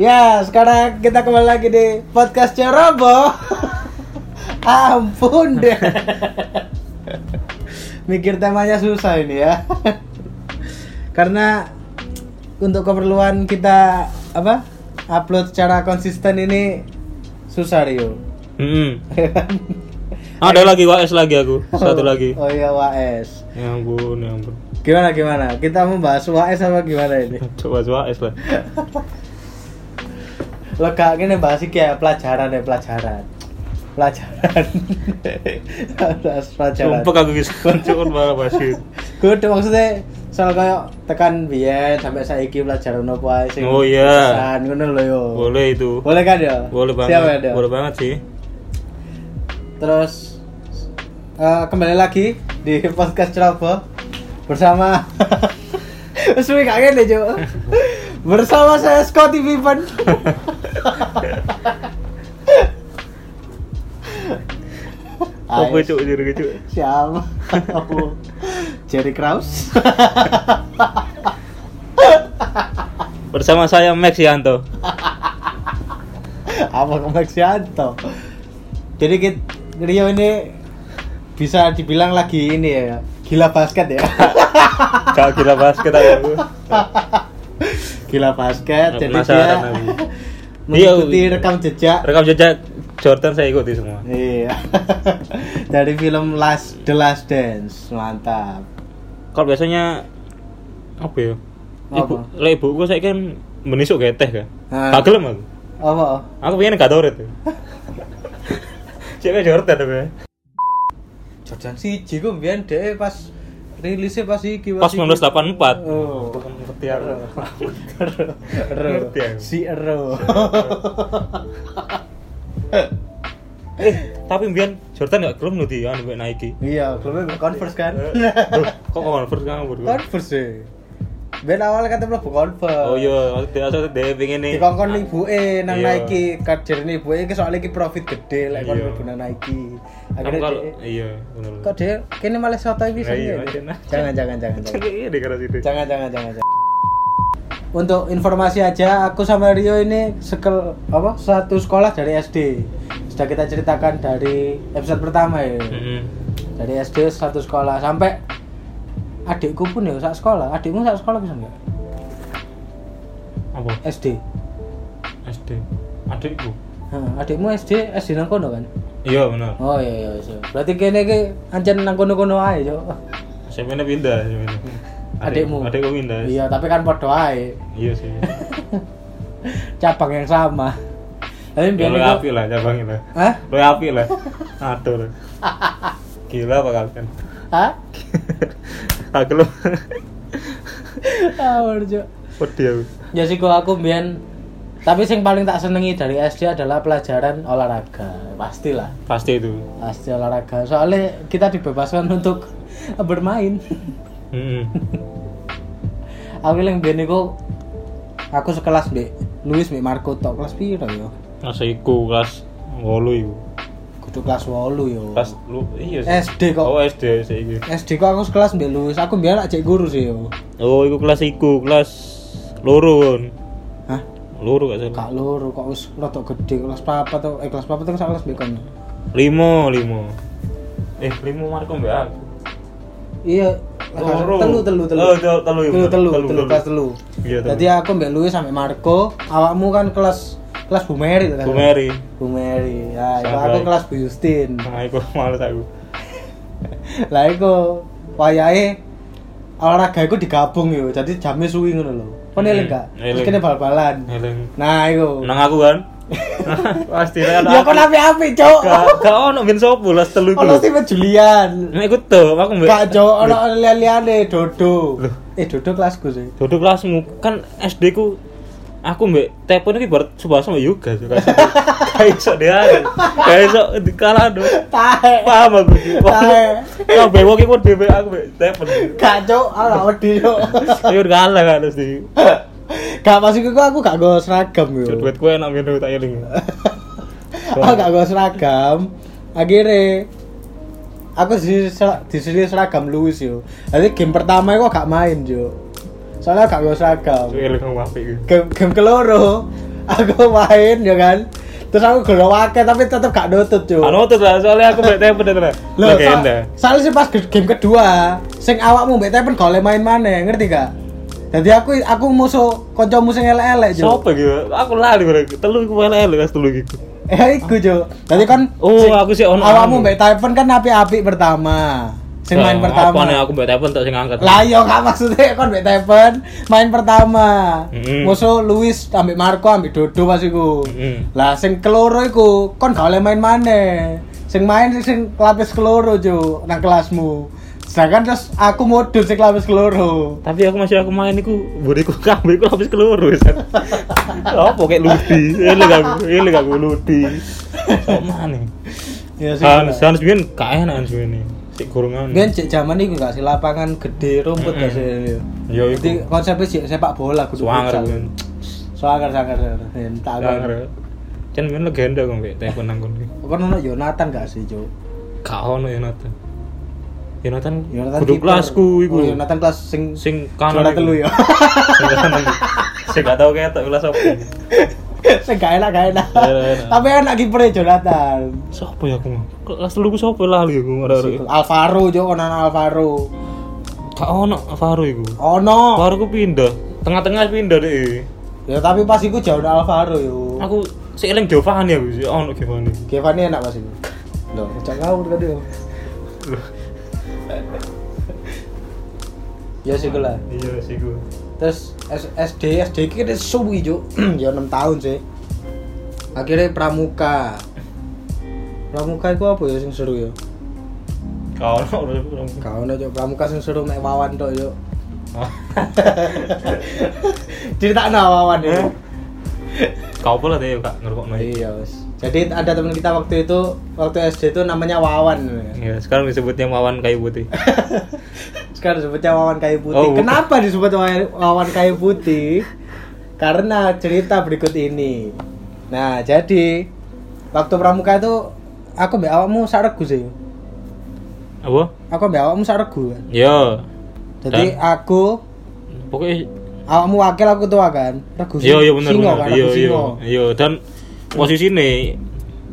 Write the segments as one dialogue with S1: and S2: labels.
S1: Ya, sekarang kita kembali lagi di podcast Ceroboh. Ampun deh. Mikir temanya susah ini ya. Karena untuk keperluan kita apa? Upload secara konsisten ini susah Rio.
S2: Mm-mm. Ada lagi WS lagi aku, satu lagi.
S1: Oh iya WAS.
S2: Ya ampun, ya ampun.
S1: Gimana gimana? Kita membahas WAS apa gimana ini?
S2: Coba WS lah.
S1: Lo kak ini bahas iki ya pelajaran ya pelajaran. Pelajaran. Bahas pelajaran.
S2: Sumpah aku bisa kan malah masih.
S1: Kudu maksudnya soal kayak tekan biyen sampai saiki pelajaran apa ae sing
S2: Oh, iya.
S1: pisan, ngono lho yo.
S2: Boleh itu.
S1: Boleh kan ya?
S2: Boleh
S1: Siap ya,
S2: banget.
S1: Dok?
S2: Boleh banget sih.
S1: Terus eh, kembali lagi di podcast Ceroboh bersama Wes wih, gak ngene, Cuk. Bersama saya Scotty Pippen.
S2: Apa
S1: Ais.
S2: cuk jadi cuk?
S1: Siapa? Aku Jerry Kraus.
S2: Bersama saya Max Yanto.
S1: Apa Komeksianto? Jadi kita, Rio ini bisa dibilang lagi ini ya gila basket ya
S2: Kak gila basket aku.
S1: gila basket jadi dia
S2: Penasaran aku.
S1: mengikuti
S2: Iya,
S1: rekam jejak
S2: Rekam jejak Jordan saya ikuti semua.
S1: iya dari film Last The Last Dance mantap
S2: Kalau biasanya apa ya? Ibu,
S1: Apa?
S2: lah ibuku saya kan menisuk geteh kan.
S1: Ah.
S2: Gak gelem aku.
S1: apa
S2: Aku pengen gak tau itu. Siapa Jordan apa? ya?
S1: Jordan si Jigo biar deh pas rilisnya pas iki
S2: Pas
S1: oh
S2: 1984. Ngerti aku.
S1: Ero.
S2: Ngerti aku.
S1: si Ero
S2: Eh, tapi mbiyen Jordan gak gelem lho di anu mbek Nike.
S1: iya klubnya converse kan
S2: Loh, Kok Converse kan menurut gua?
S1: Converse sih. Ben awal kata mlebu Converse.
S2: Oh iya, dia asal dia pengen nih.
S1: Dikongkon ibuke nang
S2: Iya.
S1: Nike, kadirne ibuke iki soalnya iki profit gede lek kon
S2: Iya.
S1: mlebu nang Nike.
S2: Kamu
S1: Akhirnya
S2: kalau
S1: dia-
S2: iya, bener.
S1: kok dia kene malah soto iki
S2: Nah,
S1: sing
S2: iya,
S1: ngene.
S2: macam nah.
S1: Jangan jangan jangan jangan.
S2: Cengkeh iya di keras itu.
S1: Jangan jangan jangan. jangan. Untuk informasi aja, aku sama Rio ini sekel apa satu sekolah dari SD. Sudah kita ceritakan dari episode pertama ya.
S2: Heeh.
S1: Dari SD satu sekolah sampai adikku pun ya sak sekolah. Adikmu sak sekolah bisa enggak?
S2: Apa?
S1: SD.
S2: SD. Adikku.
S1: Heeh, adikmu SD SD nang kono kan?
S2: Iya, bener.
S1: Oh iya iya iya. Berarti kene iki ancen nang kono-kono ae yo.
S2: Siapa ini pindah, siapa ini?
S1: Hmm. Adikmu.
S2: Adikku pindah.
S1: Iya, tapi kan padha ae.
S2: Iya sih.
S1: Cabang yang sama. Tapi
S2: Ya,
S1: biyen
S2: Lo
S1: iku
S2: api lah cabang itu.
S1: Hah?
S2: Lo api lah. Aduh. Gila apa kalian?
S1: Hah?
S2: Aku lo.
S1: Awur Cuk.
S2: Pedih aku.
S1: Ya sih gua aku biyen tapi sing paling tak senengi dari SD adalah pelajaran olahraga. Pastilah.
S2: Pasti itu.
S1: Pasti olahraga. Soalnya kita dibebaskan untuk bermain.
S2: Heeh.
S1: aku yang biyen iku aku sekelas Mbak Luis Mbak Marco tok kelas piro yo?
S2: Masa iku kelas 8 iku.
S1: Kudu kelas 8 yo.
S2: Kelas lu iya sih.
S1: SD kok.
S2: Oh SD sih iku.
S1: SD kok aku sekelas Mbak Luis, aku biar cek guru sih yo.
S2: Oh, iku kelas iku, kelas loro kon.
S1: Hah?
S2: Loro gak salah.
S1: Kak loro kok wis rada gede kelas papa tuh eh kelas papa tuh kelas mbek kon.
S2: Limo, limo. Eh, limo Marco mbak aku.
S1: Iya,
S2: Oh, Loro.
S1: telu telu telu.
S2: Oh, tel- telu,
S1: Telu telu,
S2: iya, bener. Telu,
S1: telu
S2: telu.
S1: kelas telu.
S2: Iya, telu.
S1: Jadi aku mbek Luis sampe Marco, awakmu kan kelas kelas Bu Meri kan.
S2: Bu Mary.
S1: Bu Meri. Ya, iku
S2: Sampai.
S1: aku kelas Bu Justin.
S2: Nah, iku males aku.
S1: Lah iku wayahe olahraga iku digabung yo. Jadi jamnya suwi ngono lho. Kon eling gak?
S2: Hmm,
S1: Terus
S2: eling.
S1: kene bal-balan.
S2: Eleng.
S1: Nah, iku.
S2: Nang aku kan. Pasti lah.
S1: Ya Oh, kon api-api, Cok.
S2: Gak gak ono ben sopo lah telu
S1: Ono
S2: iku.
S1: tipe Julian.
S2: Nah, iku tuh aku mbak.
S1: Gak jo ono liane Dodo. Eh Dodo kelasku sih.
S2: Duduk kelasmu kan SD ku aku mbak telepon ini baru coba sama Yuga juga kayak iso dia kayak iso kalah do
S1: Tae.
S2: paham aku
S1: Tae.
S2: kalau bewok itu dewe aku mbak telepon
S1: Gak jo ala wedi yo.
S2: ayo kalah kan harus di
S1: Gak pas iku aku gak go seragam
S2: Cuk,
S1: yo.
S2: duit kue enak minum tak iling
S1: Aku Oh, gak go seragam. Akhirnya aku di sini seragam Luis yo. Jadi game pertama aku gak main yo. Soalnya gak go seragam.
S2: Cuk, iling kamu api
S1: Game, game keloro aku main ya kan terus aku gelo wakai tapi tetep gak nutut cuy
S2: Anu tuh lah, soalnya aku mbak tepen itu lah.
S1: Loh,
S2: Legenda.
S1: soal- soalnya sih pas ge- game kedua, sing awakmu mbek tepen golek main maneh, ngerti gak? Jadi aku aku musuh kancamu sing elek-elek, Jo.
S2: Sopo gitu? Aku lali bareng. Telu iku malah elek telu iku.
S1: Eh iku, Jo. Jadi kan
S2: Oh,
S1: sing
S2: aku sih ono
S1: awakmu
S2: anu.
S1: mbek tepen kan api-api pertama. Sing main
S2: Nah,
S1: pertama.
S2: apaan yang Oh, aku mbak tepen tak sing angkat.
S1: Lah iya. yo gak maksudnya kon mbek tepen main pertama.
S2: Mm-mm.
S1: Musuh Luis ambek Marco ambek Dodo pas iku.
S2: Mm-mm.
S1: Lah sing keloro iku kon gak oleh main maneh. Sing main sing- sing lapis keloro jo nang kelasmu. Sedangkan terus aku modus sing lapis keloro.
S2: Tapi aku masih aku main iku buriku kambing iku habis keluru. Apa kayak ludi? Iya Elek aku, elek aku ludi. Sok maneh.
S1: Ya sih.
S2: Hans Hans biyen gak enak Hans biyen iki. Sik kurungan.
S1: Biyen cek jaman iku gak sih lapangan gede rumput gak sih.
S2: Yo
S1: Jadi
S2: iku
S1: konsepnya sih sepak bola kudu
S2: suwanger
S1: futsal.
S2: biyen.
S1: Suwanger sangar sangar. Entak
S2: Suwanger.
S1: aku.
S2: Kan biyen legenda kok mbak tepen nang kono.
S1: Kon ono Yonatan gak sih, Jo?
S2: Gak ono Yonatan. Yonatan,
S1: Yonatan
S2: kudu
S1: kiper.
S2: kelasku iku.
S1: Oh, Yonatan kelas sing
S2: sing kanan.
S1: Juara
S2: iku.
S1: telu ya.
S2: Sing kanan. iku. Sing gak tau ketok kelas apa.
S1: sing gak enak gak enak.
S2: Gak enak.
S1: Tapi enak kipernya Jonathan.
S2: Sopo ya aku? mau? Kelas telu ku sopo lali aku ora-ora.
S1: Alvaro Jo onan Alvaro.
S2: Gak ono Faro iku.
S1: Ono.
S2: Faro ku pindah. Tengah-tengah pindah deh.
S1: Ya tapi pas iku jauh nang Alvaro yo.
S2: Aku sik eling Giovanni aku sih ono Giovanni.
S1: Giovanni enak pas iku. Loh, cak ngawur kan yo. Ya sih lah.
S2: Iya sih ku.
S1: Terus S- SD SD ki kita suwi Jo. ya 6 tahun sih. Akhirnya pramuka. Pramuka itu apa ya sing seru ya?
S2: Gak ono ora kurang.
S1: Kau ono Jo pramuka sing seru mek wawan tok Jo. Cerita wawan ya.
S2: Kau pula deh kak ngerokok naik.
S1: Iya, Mas. Jadi ada teman kita waktu itu waktu SD itu namanya Wawan.
S2: Iya, sekarang disebutnya Mawan Kayu Putih.
S1: Sekarang kan disebutnya Wawan Kayu Putih.
S2: Oh, bukan.
S1: Kenapa disebut Wa- Wawan Kayu Putih? Karena cerita berikut ini. Nah, jadi waktu pramuka itu aku mbak awakmu saregu sih.
S2: Apa?
S1: Aku mbak awakmu saregu. kan.
S2: Yo.
S1: Jadi
S2: Dan?
S1: aku
S2: Pokoknya
S1: awakmu wakil aku tua kan. Regu sing-
S2: Iya iya bener
S1: singo
S2: bener.
S1: kan,
S2: Iya
S1: regu
S2: iya.
S1: singo.
S2: Iya dan posisi ini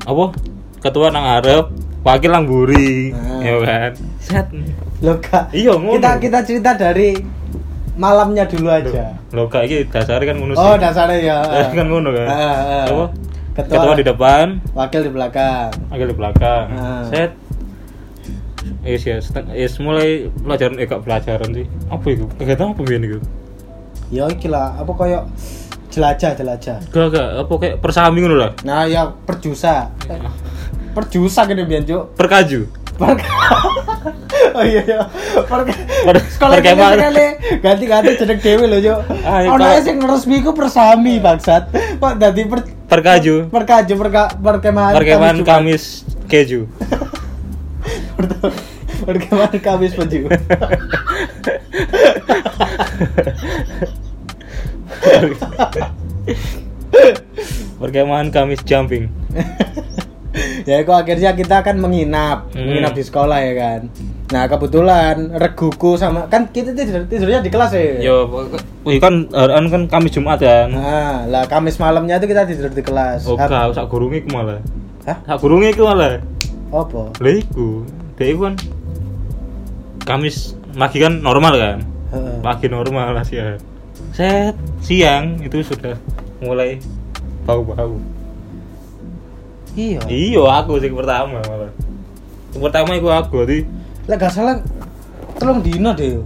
S2: apa? Ketua nang arep, wakil nang buri.
S1: Nah.
S2: Iya kan. Set.
S1: Loh, Kak.
S2: Iya, ngono.
S1: Kita kita cerita dari malamnya dulu aja.
S2: Loh kak iki dasare kan ngono
S1: Oh
S2: sih.
S1: dasarnya ya.
S2: kan ngono kan.
S1: Ah, ah.
S2: Apa?
S1: Ketua,
S2: Ketua, di depan,
S1: wakil di belakang.
S2: wakil di belakang.
S1: Ah.
S2: Set. Eh, Yes, yes, yes, mulai pelajaran, eh, gak pelajaran sih. Apa itu? Kegiatan apa biar itu?
S1: Ya iki lah apa koyo jelajah jelajah.
S2: Gak, gak, apa kayak persami ngono lah.
S1: Nah ya perjusa. Eh, Perjusa gini biar cuk.
S2: Perkaju.
S1: Per- oh iya iya. Per
S2: Per-
S1: sekolah ini
S2: perkemahan.
S1: sekali ganti-ganti jeneng dhewe lho yo.
S2: Ah, iya,
S1: Ono
S2: Kak.
S1: sing resmi ku persami bangsat. Kok dadi per
S2: Perkaju.
S1: perkaju perka perkemahan
S2: Perkemahan
S1: Jumat.
S2: Kamis keju.
S1: perkemahan Kamis Penju.
S2: Perkemahan Kamis jumping.
S1: ya itu akhirnya kita kan menginap
S2: Hmm.
S1: menginap di sekolah ya kan nah kebetulan reguku sama kan kita tidur tidurnya di kelas ya
S2: Yo, pokok- wih kan kan kan Kamis Jumat kan.
S1: nah lah kamis malamnya itu kita tidur di kelas
S2: Oh,
S1: Hap-
S2: gak, sak gurunge iku malah.
S1: Hah?
S2: Sak gurunge iku malah.
S1: apa
S2: Lha iku, dhek iku kan Kamis pagi kan normal kan.
S1: Heeh.
S2: Pagi normal lah siang. Set siang itu sudah mulai bau-bau.
S1: iya
S2: Iya, aku sih pertama malah. Yang pertama iku aku, jadi
S1: lah gak salah tolong dino deh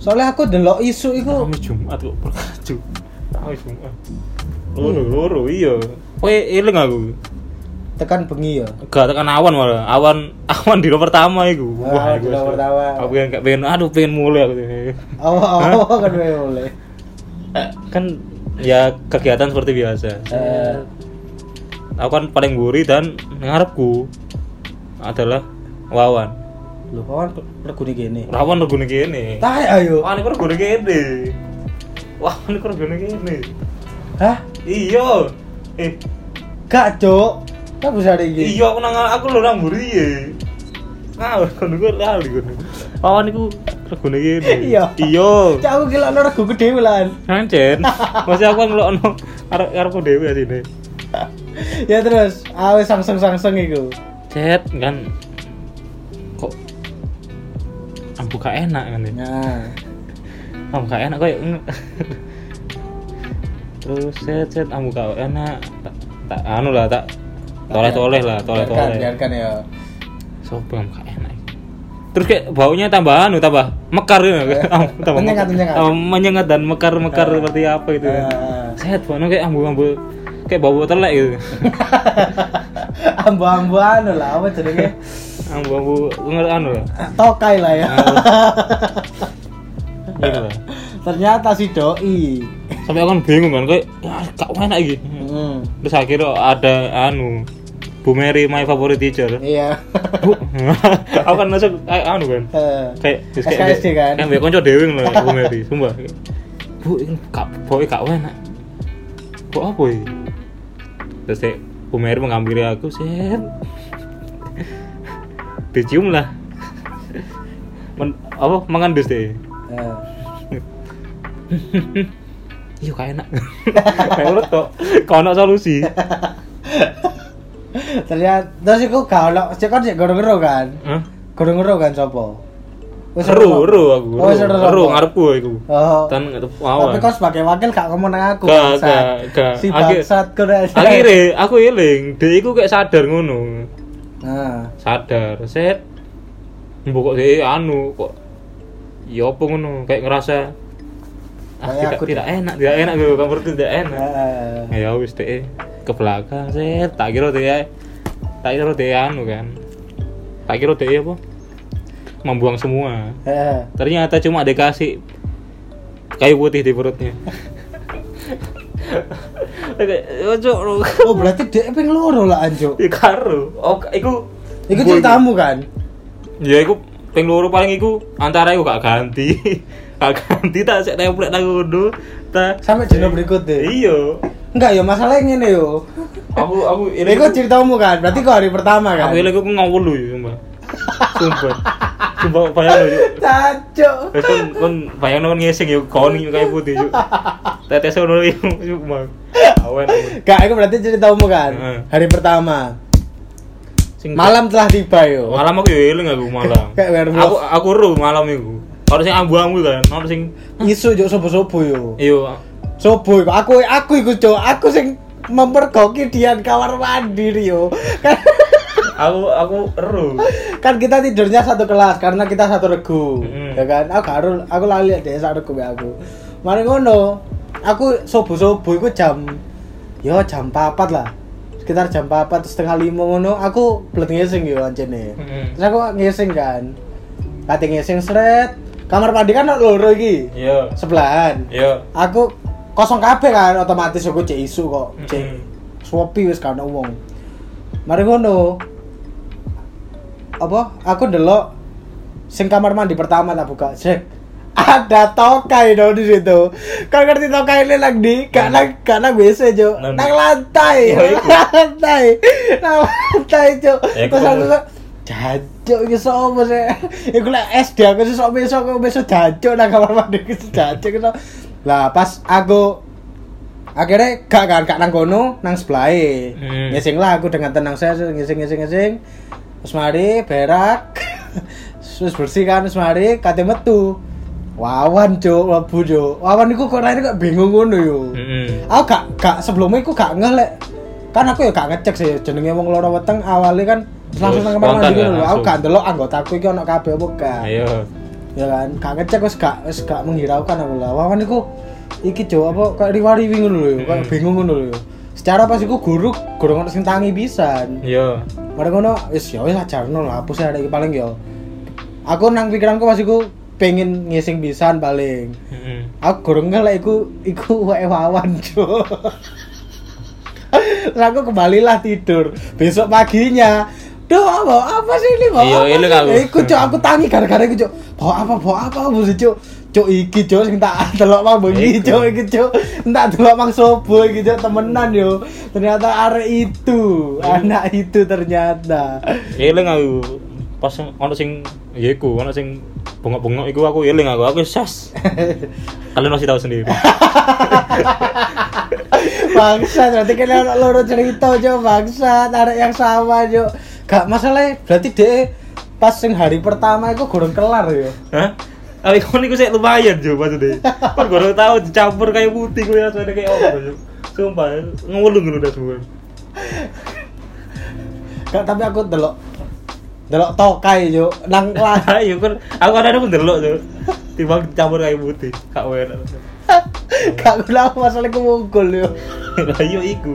S1: soalnya aku delok isu itu
S2: Kamis Jumat kok perkaju. Kamis Jumat. Loro
S1: Hmm.
S2: loro iya. Kowe eling aku.
S1: tekan bengi ya
S2: Gak tekan awan malah. Awan awan di pertama iku.
S1: Ah,
S2: iku
S1: dino
S2: asli.
S1: pertama.
S2: Aku yang gak pengen aduh pengen mulai aku.
S1: awal awal kan gue boleh
S2: Kan ya kegiatan seperti biasa.
S1: Eh,
S2: Aku kan paling buri dan ngarepku adalah Wawan.
S1: lu kawan reguni gini
S2: Wawan regune kene.
S1: tay ayo
S2: Wawan iku regune kene. Wawan iku regune kene.
S1: hah
S2: Iya. Eh,
S1: gak cok kan bisa ada gini
S2: Iya eh. aku nang aku lho nang mburi e. Ngawur kono ku lali kono. Pawan iku regone iki ndi?
S1: Iya.
S2: iya
S1: Cak aku gila ono regu gede Wulan.
S2: Anjen, masih aku kan ngelokno arep karepku dhewe asine.
S1: Ya terus, awe sangseng-sangseng iku.
S2: Cet kan kok ambu gak enak kan ya.
S1: Nah.
S2: Ambu gak enak koyo Terus cet cet ambu gak enak. Tak tak anu lah tak toleh-toleh lah,
S1: Biarkan,
S2: toleh-toleh.
S1: Biarkan ya.
S2: Sopo ambu gak enak. Terus kayak baunya tambah anu tambah mekar gitu. Ambu tambah
S1: Eh, Menyengat,
S2: mekar.
S1: menyengat.
S2: Tambah menyengat dan mekar-mekar seperti apa gitu.
S1: Ah.
S2: Set baunya kayak ambu-ambu kayak bau-bau telek gitu.
S1: Ambu-ambu anu lah apa jenenge?
S2: ambu-ambu ngerti anu lah
S1: Tokai lah ya.
S2: gitu lah
S1: Ternyata si doi.
S2: sampai aku kan bingung kan kayak wah kak enak iki
S1: Hmm.
S2: terus akhirnya ada anu Bu Mary my favorite teacher
S1: Iya.
S2: Bu aku kan masuk kayak anu kan
S1: Eh,
S2: kayak terus
S1: SKSD kan?
S2: kayak mbak konco dewi lah Bu Mary sumpah Bu ini kak boy kak enak kok apa ini terus kayak Bu Mary mengambil aku set dicium lah Men, apa mengandus deh
S1: eh.
S2: iya kayak enak kayak urut kok kau nak solusi
S1: Ternyata terus iku gak ono, sik kon sik goro-goro kan.
S2: Hah?
S1: Goro-goro kan sapa?
S2: Ru, ru aku,
S1: Oh, wis ero
S2: ru, ru
S1: sapa?
S2: ngarepku ya aku.
S1: Oh.
S2: Tan ngetep
S1: Tapi
S2: awan.
S1: kau sebagai wakil gak ngomong nang aku. bangsat.
S2: Gak, gak, gak.
S1: Si
S2: Akhir-
S1: bangsat kau dah.
S2: Akhirnya aku eling, dia iku kayak sadar ngono.
S1: Nah,
S2: Sadar, set. Mbok kok dia anu kok ya apa ngono kayak ngerasa ah,
S1: Kayak
S2: tidak,
S1: aku
S2: tidak enak, tidak enak gitu, kamu itu tidak enak.
S1: eh,
S2: Ya wis deh ke belakang set, tak kira dia tak kira dia anu kan. Tak kira dia apa? Membuang semua.
S1: eh.
S2: Ternyata cuma dikasih kayu putih di perutnya. Oke, ojo lu.
S1: Oh berarti dia ping loro lah anjo.
S2: Ya karo. Oh, iku
S1: Iku ceritamu kan?
S2: Ya iku ping loro paling iku antara iku gak ganti. Gak ganti tak sik template nang ngono. Ta.
S1: Sampai jeneng berikut deh.
S2: Iya.
S1: Enggak ya masalahnya ngene yo.
S2: Aku aku
S1: Ini kau ceritamu kan? Berarti kau hari pertama kan?
S2: Aku ilang aku ngawur lu ya, Mbak. Sumpah. Sumpah bayang lu. yuk.
S1: Caco.
S2: Terus kan kan bayang kan ngising yuk kon kayu putih yuk. Tetes ngono yuk, Mbak. Awen. awen.
S1: Kak, aku berarti ceritamu kan?
S2: Heeh.
S1: Hari pertama.
S2: Sing-
S1: Malam telah tiba yo.
S2: malam aku ya eling aku malam
S1: Kayak werewolf.
S2: aku aku ru malam itu harus yang ambu-ambu kan harus yang
S1: Isu jo sobo-sobo yo.
S2: iyo
S1: Sobo iku. aku aku iku jo. Aku sing mempergoki Dian kamar mandi yo. Kan
S2: aku aku ru
S1: kan kita tidurnya satu kelas karena kita satu regu
S2: Mm.
S1: ya kan aku harus aku lali lihat dia satu regu be aku mari ngono aku subuh subuh itu jam yo jam papat lah sekitar jam papat setengah lima ngono aku belum ngising yo anjene
S2: Mm.
S1: terus aku ngising kan kate ngising seret kamar mandi kan ono loro iki
S2: iyo
S1: sebelahan
S2: iyo
S1: aku kosong kabeh kan otomatis aku cek isu kok cek
S2: Mm-mm.
S1: swapi wis kan wong mari ngono apa aku ndelok sing kamar mandi pertama tak buka cek ada tokai dong di situ kan ngerti tokai ini lagi di gak nang gak nang WC jo
S2: Mm. Nang
S1: nang lantai
S2: Oh, iku.
S1: nang lantai nang lantai jo
S2: Ya,
S1: terus aku
S2: ketemu.
S1: kok, jancuk iki sapa sih iku lek SD aku sih sok besok aku besok jancuk nang kamar mandi iki sih jancuk gitu lah pas aku akhirnya gak kan gak nang kono nang sebelah
S2: Hmm.
S1: ngising lah aku dengan tenang saya ngising ngising ngising terus mari berak terus bersih kan terus mari kate metu wawan cuk mlebu cuk wawan iku kok rene kok bingung ngono yo
S2: Hmm. Mm-mm.
S1: aku gak gak sebelumnya aku gak ngelek kan aku ya gak ngecek sih jenenge wong loro weteng awalnya kan langsung nang kamar
S2: Spontan
S1: mandi
S2: ya,
S1: ngono lho. aku
S2: langsung.
S1: gak ndelok anggotaku iki ono kabeh apa gak
S2: ayo
S1: ya kan gak ngecek wis gak wis gak menghiraukan aku lah wawan iku iki jo apa kayak riwari-riwi ngono lho kayak
S2: Hmm.
S1: bingung ngono lho secara pas iku guru guru ngono sing tangi pisan
S2: iyo
S1: Mari ngono wis ya wis ajarno lah hapus ya iki paling yo. Aku nang pikiranku pas iku pengen ngising pisan paling.
S2: Mm-mm.
S1: Aku gorong ngelak iku iku wae wawan, Cuk. Terus aku kembalilah tidur. Besok paginya Duh, apa, apa sih ini? Bawa
S2: Iya,
S1: apa
S2: ini
S1: sih? Eh,
S2: aku.
S1: Iku, Cuk, aku tangi gara-gara iku, Cuk. Bawa apa, bawa apa, apa sih, Cuk? Cuk, iki, Cuk, sing tak delok mang bengi,
S2: Iku.
S1: Cuk, iki, Cuk. Tak delok mang sobo iki, Cuk, temenan yo.
S2: Hmm.
S1: Ternyata arek itu, anak itu ternyata.
S2: eling aku pas yang- ono sing ya iku ono sing bengok-bengok iku aku eling aku aku sas kalian masih tahu sendiri
S1: bangsa berarti kalian orang loro cerita jo bangsa tarik yang sama jo gak masalah berarti deh pas sing hari pertama itu gorong kelar yo
S2: Hah? Ali kon iku sik lumayan jo maksudnya. Kan Kon gak tau dicampur kayak putih kuwi rasane kayak apa jo. Sumpah ngulung ngono dah semua.
S1: gak tapi aku delok delok tokai jo nang kelas
S2: Ayo kon Iya, aku ada pun delok jo. Tiba dicampur kayak putih, kak wer.
S1: gak kenal masalah aku mungkul yo
S2: Lah iya iku.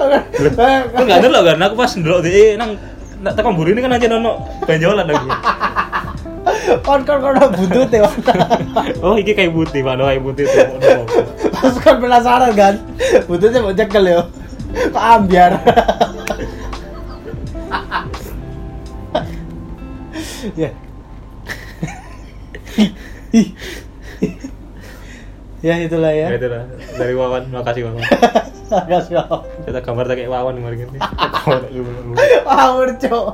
S2: Kon kon gak delok kan aku pas delok dhek nang nak tekan buri ini kan aja nono benjolan aku.
S1: kon kon kon buntut ya
S2: Oh, iki kayak putih, Pak. Kayak putih. tengok, tengok.
S1: pas kan penasaran kan buntutnya mau cekel yo kok ambiar ya ya itulah ya
S2: Ya itulah dari Wawan. Makasih Wawan.
S1: makasih Om.
S2: Kita gambar tak kayak Wawan kemarin ini.
S1: power cok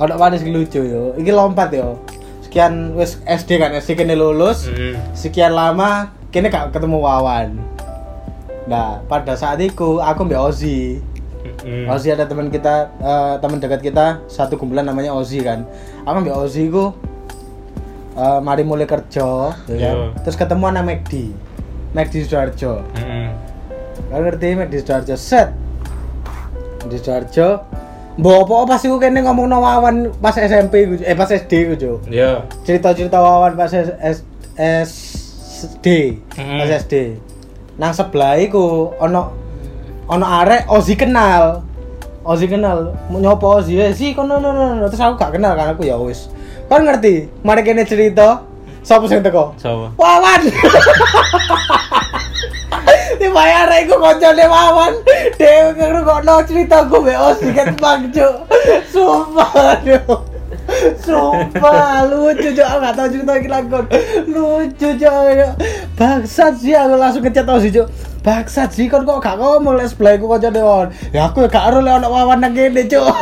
S1: ada manis lucu yo ini lompat yo sekian wis SD kan SD kene lulus
S2: Heeh.
S1: sekian lama kene gak ketemu Wawan nah pada saat itu aku mbak Ozi
S2: Heeh.
S1: Ozi ada teman kita eh, teman dekat kita satu kumpulan namanya Ozi kan aku mbak Ozi ku eh, mari mulai kerja ya kan?
S2: Iya.
S1: terus ketemuan sama McD McD Sidoarjo
S2: Heeh.
S1: Gak ngerti mek di Sidoarjo set. Di Sidoarjo mbok apa pas iku kene ngomongno Wawan pas SMP iku, eh pas SD iku, Jo.
S2: Ya.
S1: Cerita-cerita Wawan pas S, S- SD.
S2: Mm-mm.
S1: Pas SD. Nang sebelah iku ono ono arek Ozi kenal. Ozi kenal, Mau nyopo Ozi eh sih kono no no no terus aku gak kenal kan aku ya wis. Kan ngerti, mari kene cerita sapa sing teko?
S2: Sama.
S1: Wawan. Dibayar aku koncone Wawan. Dewe ngrungokno ceritaku WO sikat bang Cuk. Sumpah aduh. Sumpah lucu Cuk, aku gak tau cerita iki lakon. Lucu Cuk. Bangsat sih aku langsung ngechat tau sih Cuk. Bangsat sih kon kok gak ngomong les play ku koncone Wawan. Ya aku ya gak ero lek ono Wawan nang kene Cuk.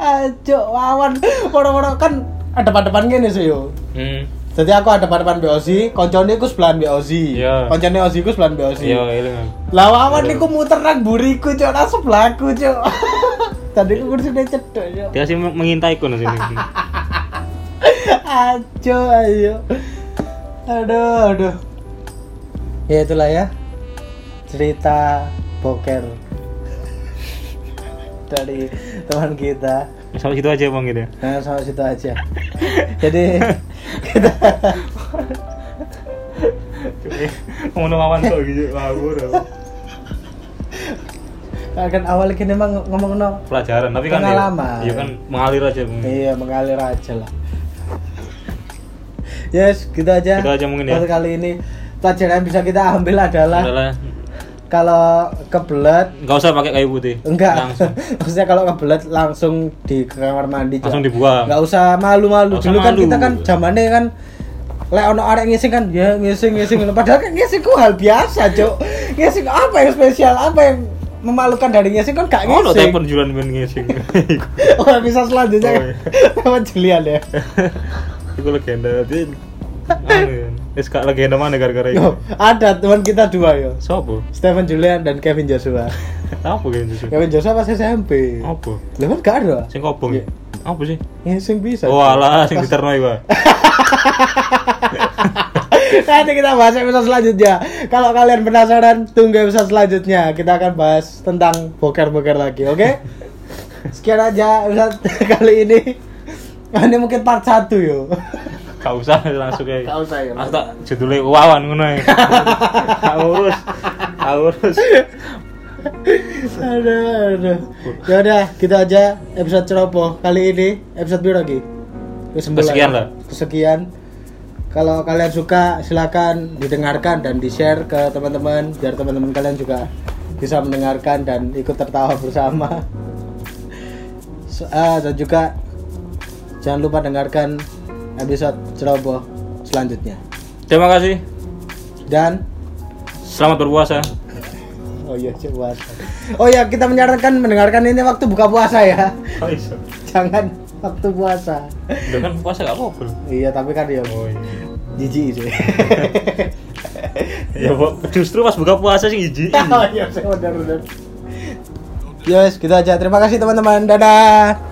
S1: Ajo Ah, Wawan moro-moro kan depan-depan kene sih yo.
S2: Hmm.
S1: Jadi aku ada depan-depan BOC, koncone iku sebelahan BOC.
S2: Iya.
S1: Koncone OC iku sebelahan BOC.
S2: Iya, eling aku.
S1: Lah Wawan niku muteran buriku cok nang sebelahku cok. Tadi aku kursine cedok cok.
S2: Dia sih meng- mengintaiku nang sini.
S1: Ajo ayo. Aduh aduh. Ya itulah ya. Cerita boker dari teman kita.
S2: Sampai situ aja Bang gitu ya.
S1: Nah, sama situ aja. Jadi kita
S2: Eh, Ngono lawan kok gitu. Ngawur. aku.
S1: akan kan awal ini emang ngomong no.
S2: Pelajaran, tapi kan ya-
S1: Pengalaman.
S2: Iya kan mengalir aja Bang.
S1: Iya, mengalir aja lah. Yes, gitu aja.
S2: Gitu aja mungkin ya.
S1: Untuk kali ini pelajaran yang bisa kita ambil adalah
S2: Udahlah.
S1: kalau kebelet
S2: Enggak usah pakai kayu putih.
S1: enggak
S2: Langsung.
S1: maksudnya kalau kebelet langsung di ke kamar mandi Cok.
S2: Langsung dibuang.
S1: nggak usah malu-malu
S2: Nggak usah
S1: dulu kan
S2: malu.
S1: kita kan zamannya kan lek ono arek ngising kan ya ngising ngising padahal kan ngising ku hal biasa cok ngising apa yang spesial apa yang memalukan dari ngising kan gak ngising
S2: Ngono Oh, telepon jualan ben ngising.
S1: oh bisa selanjutnya
S2: Oh,
S1: kan lewat Julian ya
S2: Itu legenda. Dia anu ya. Wis gak legenda mana gara-gara itu.
S1: Yo, ada teman kita dua yo
S2: Sopo?
S1: Stephen Julian dan Kevin Joshua
S2: Apa gitu sih?
S1: Kevin Joshua pas SMP
S2: Apa?
S1: Lah kan gak ada
S2: Oh. Sing kobong.
S1: Iya.
S2: ya? Apa sih?
S1: ngising bisa
S2: Oh alah sing diterno iku.
S1: Nanti kita bahas episode selanjutnya. Kalau kalian penasaran, tunggu episode selanjutnya. Kita akan bahas tentang boker-boker lagi, oke? Sekian aja episode kali ini. Ini mungkin part 1 yo.
S2: Gak usah langsung kayak.
S1: Gak usah, ya.
S2: Mas tak judulnya wawan ngono ya. Gak urus. Gak urus.
S1: aduh, aduh. Ya udah, gitu aja episode ceroboh kali ini. Episode biru lagi. Kesembilan.
S2: Kesekian lah.
S1: Kesekian. Kalau kalian suka, silakan didengarkan dan di-share ke teman-teman biar teman-teman kalian juga bisa mendengarkan dan ikut tertawa bersama. So- ah, dan juga jangan lupa dengarkan episode ceroboh selanjutnya.
S2: Terima kasih.
S1: Dan
S2: Selamat berpuasa.
S1: Oh iya, cek puasa. Oh ya, kita menyarankan mendengarkan ini waktu buka puasa ya.
S2: Oh iya.
S1: Jangan waktu puasa.
S2: Udah kan puasa gak apa-apa. loh.
S1: Iya, tapi kan ya
S2: Oh iya.
S1: jijik sih.
S2: Ya, Bu, justru pas buka puasa sih jijik.
S1: Oh iya, saya benar-benar. Yes, kita aja. Terima kasih teman-teman. Dadah.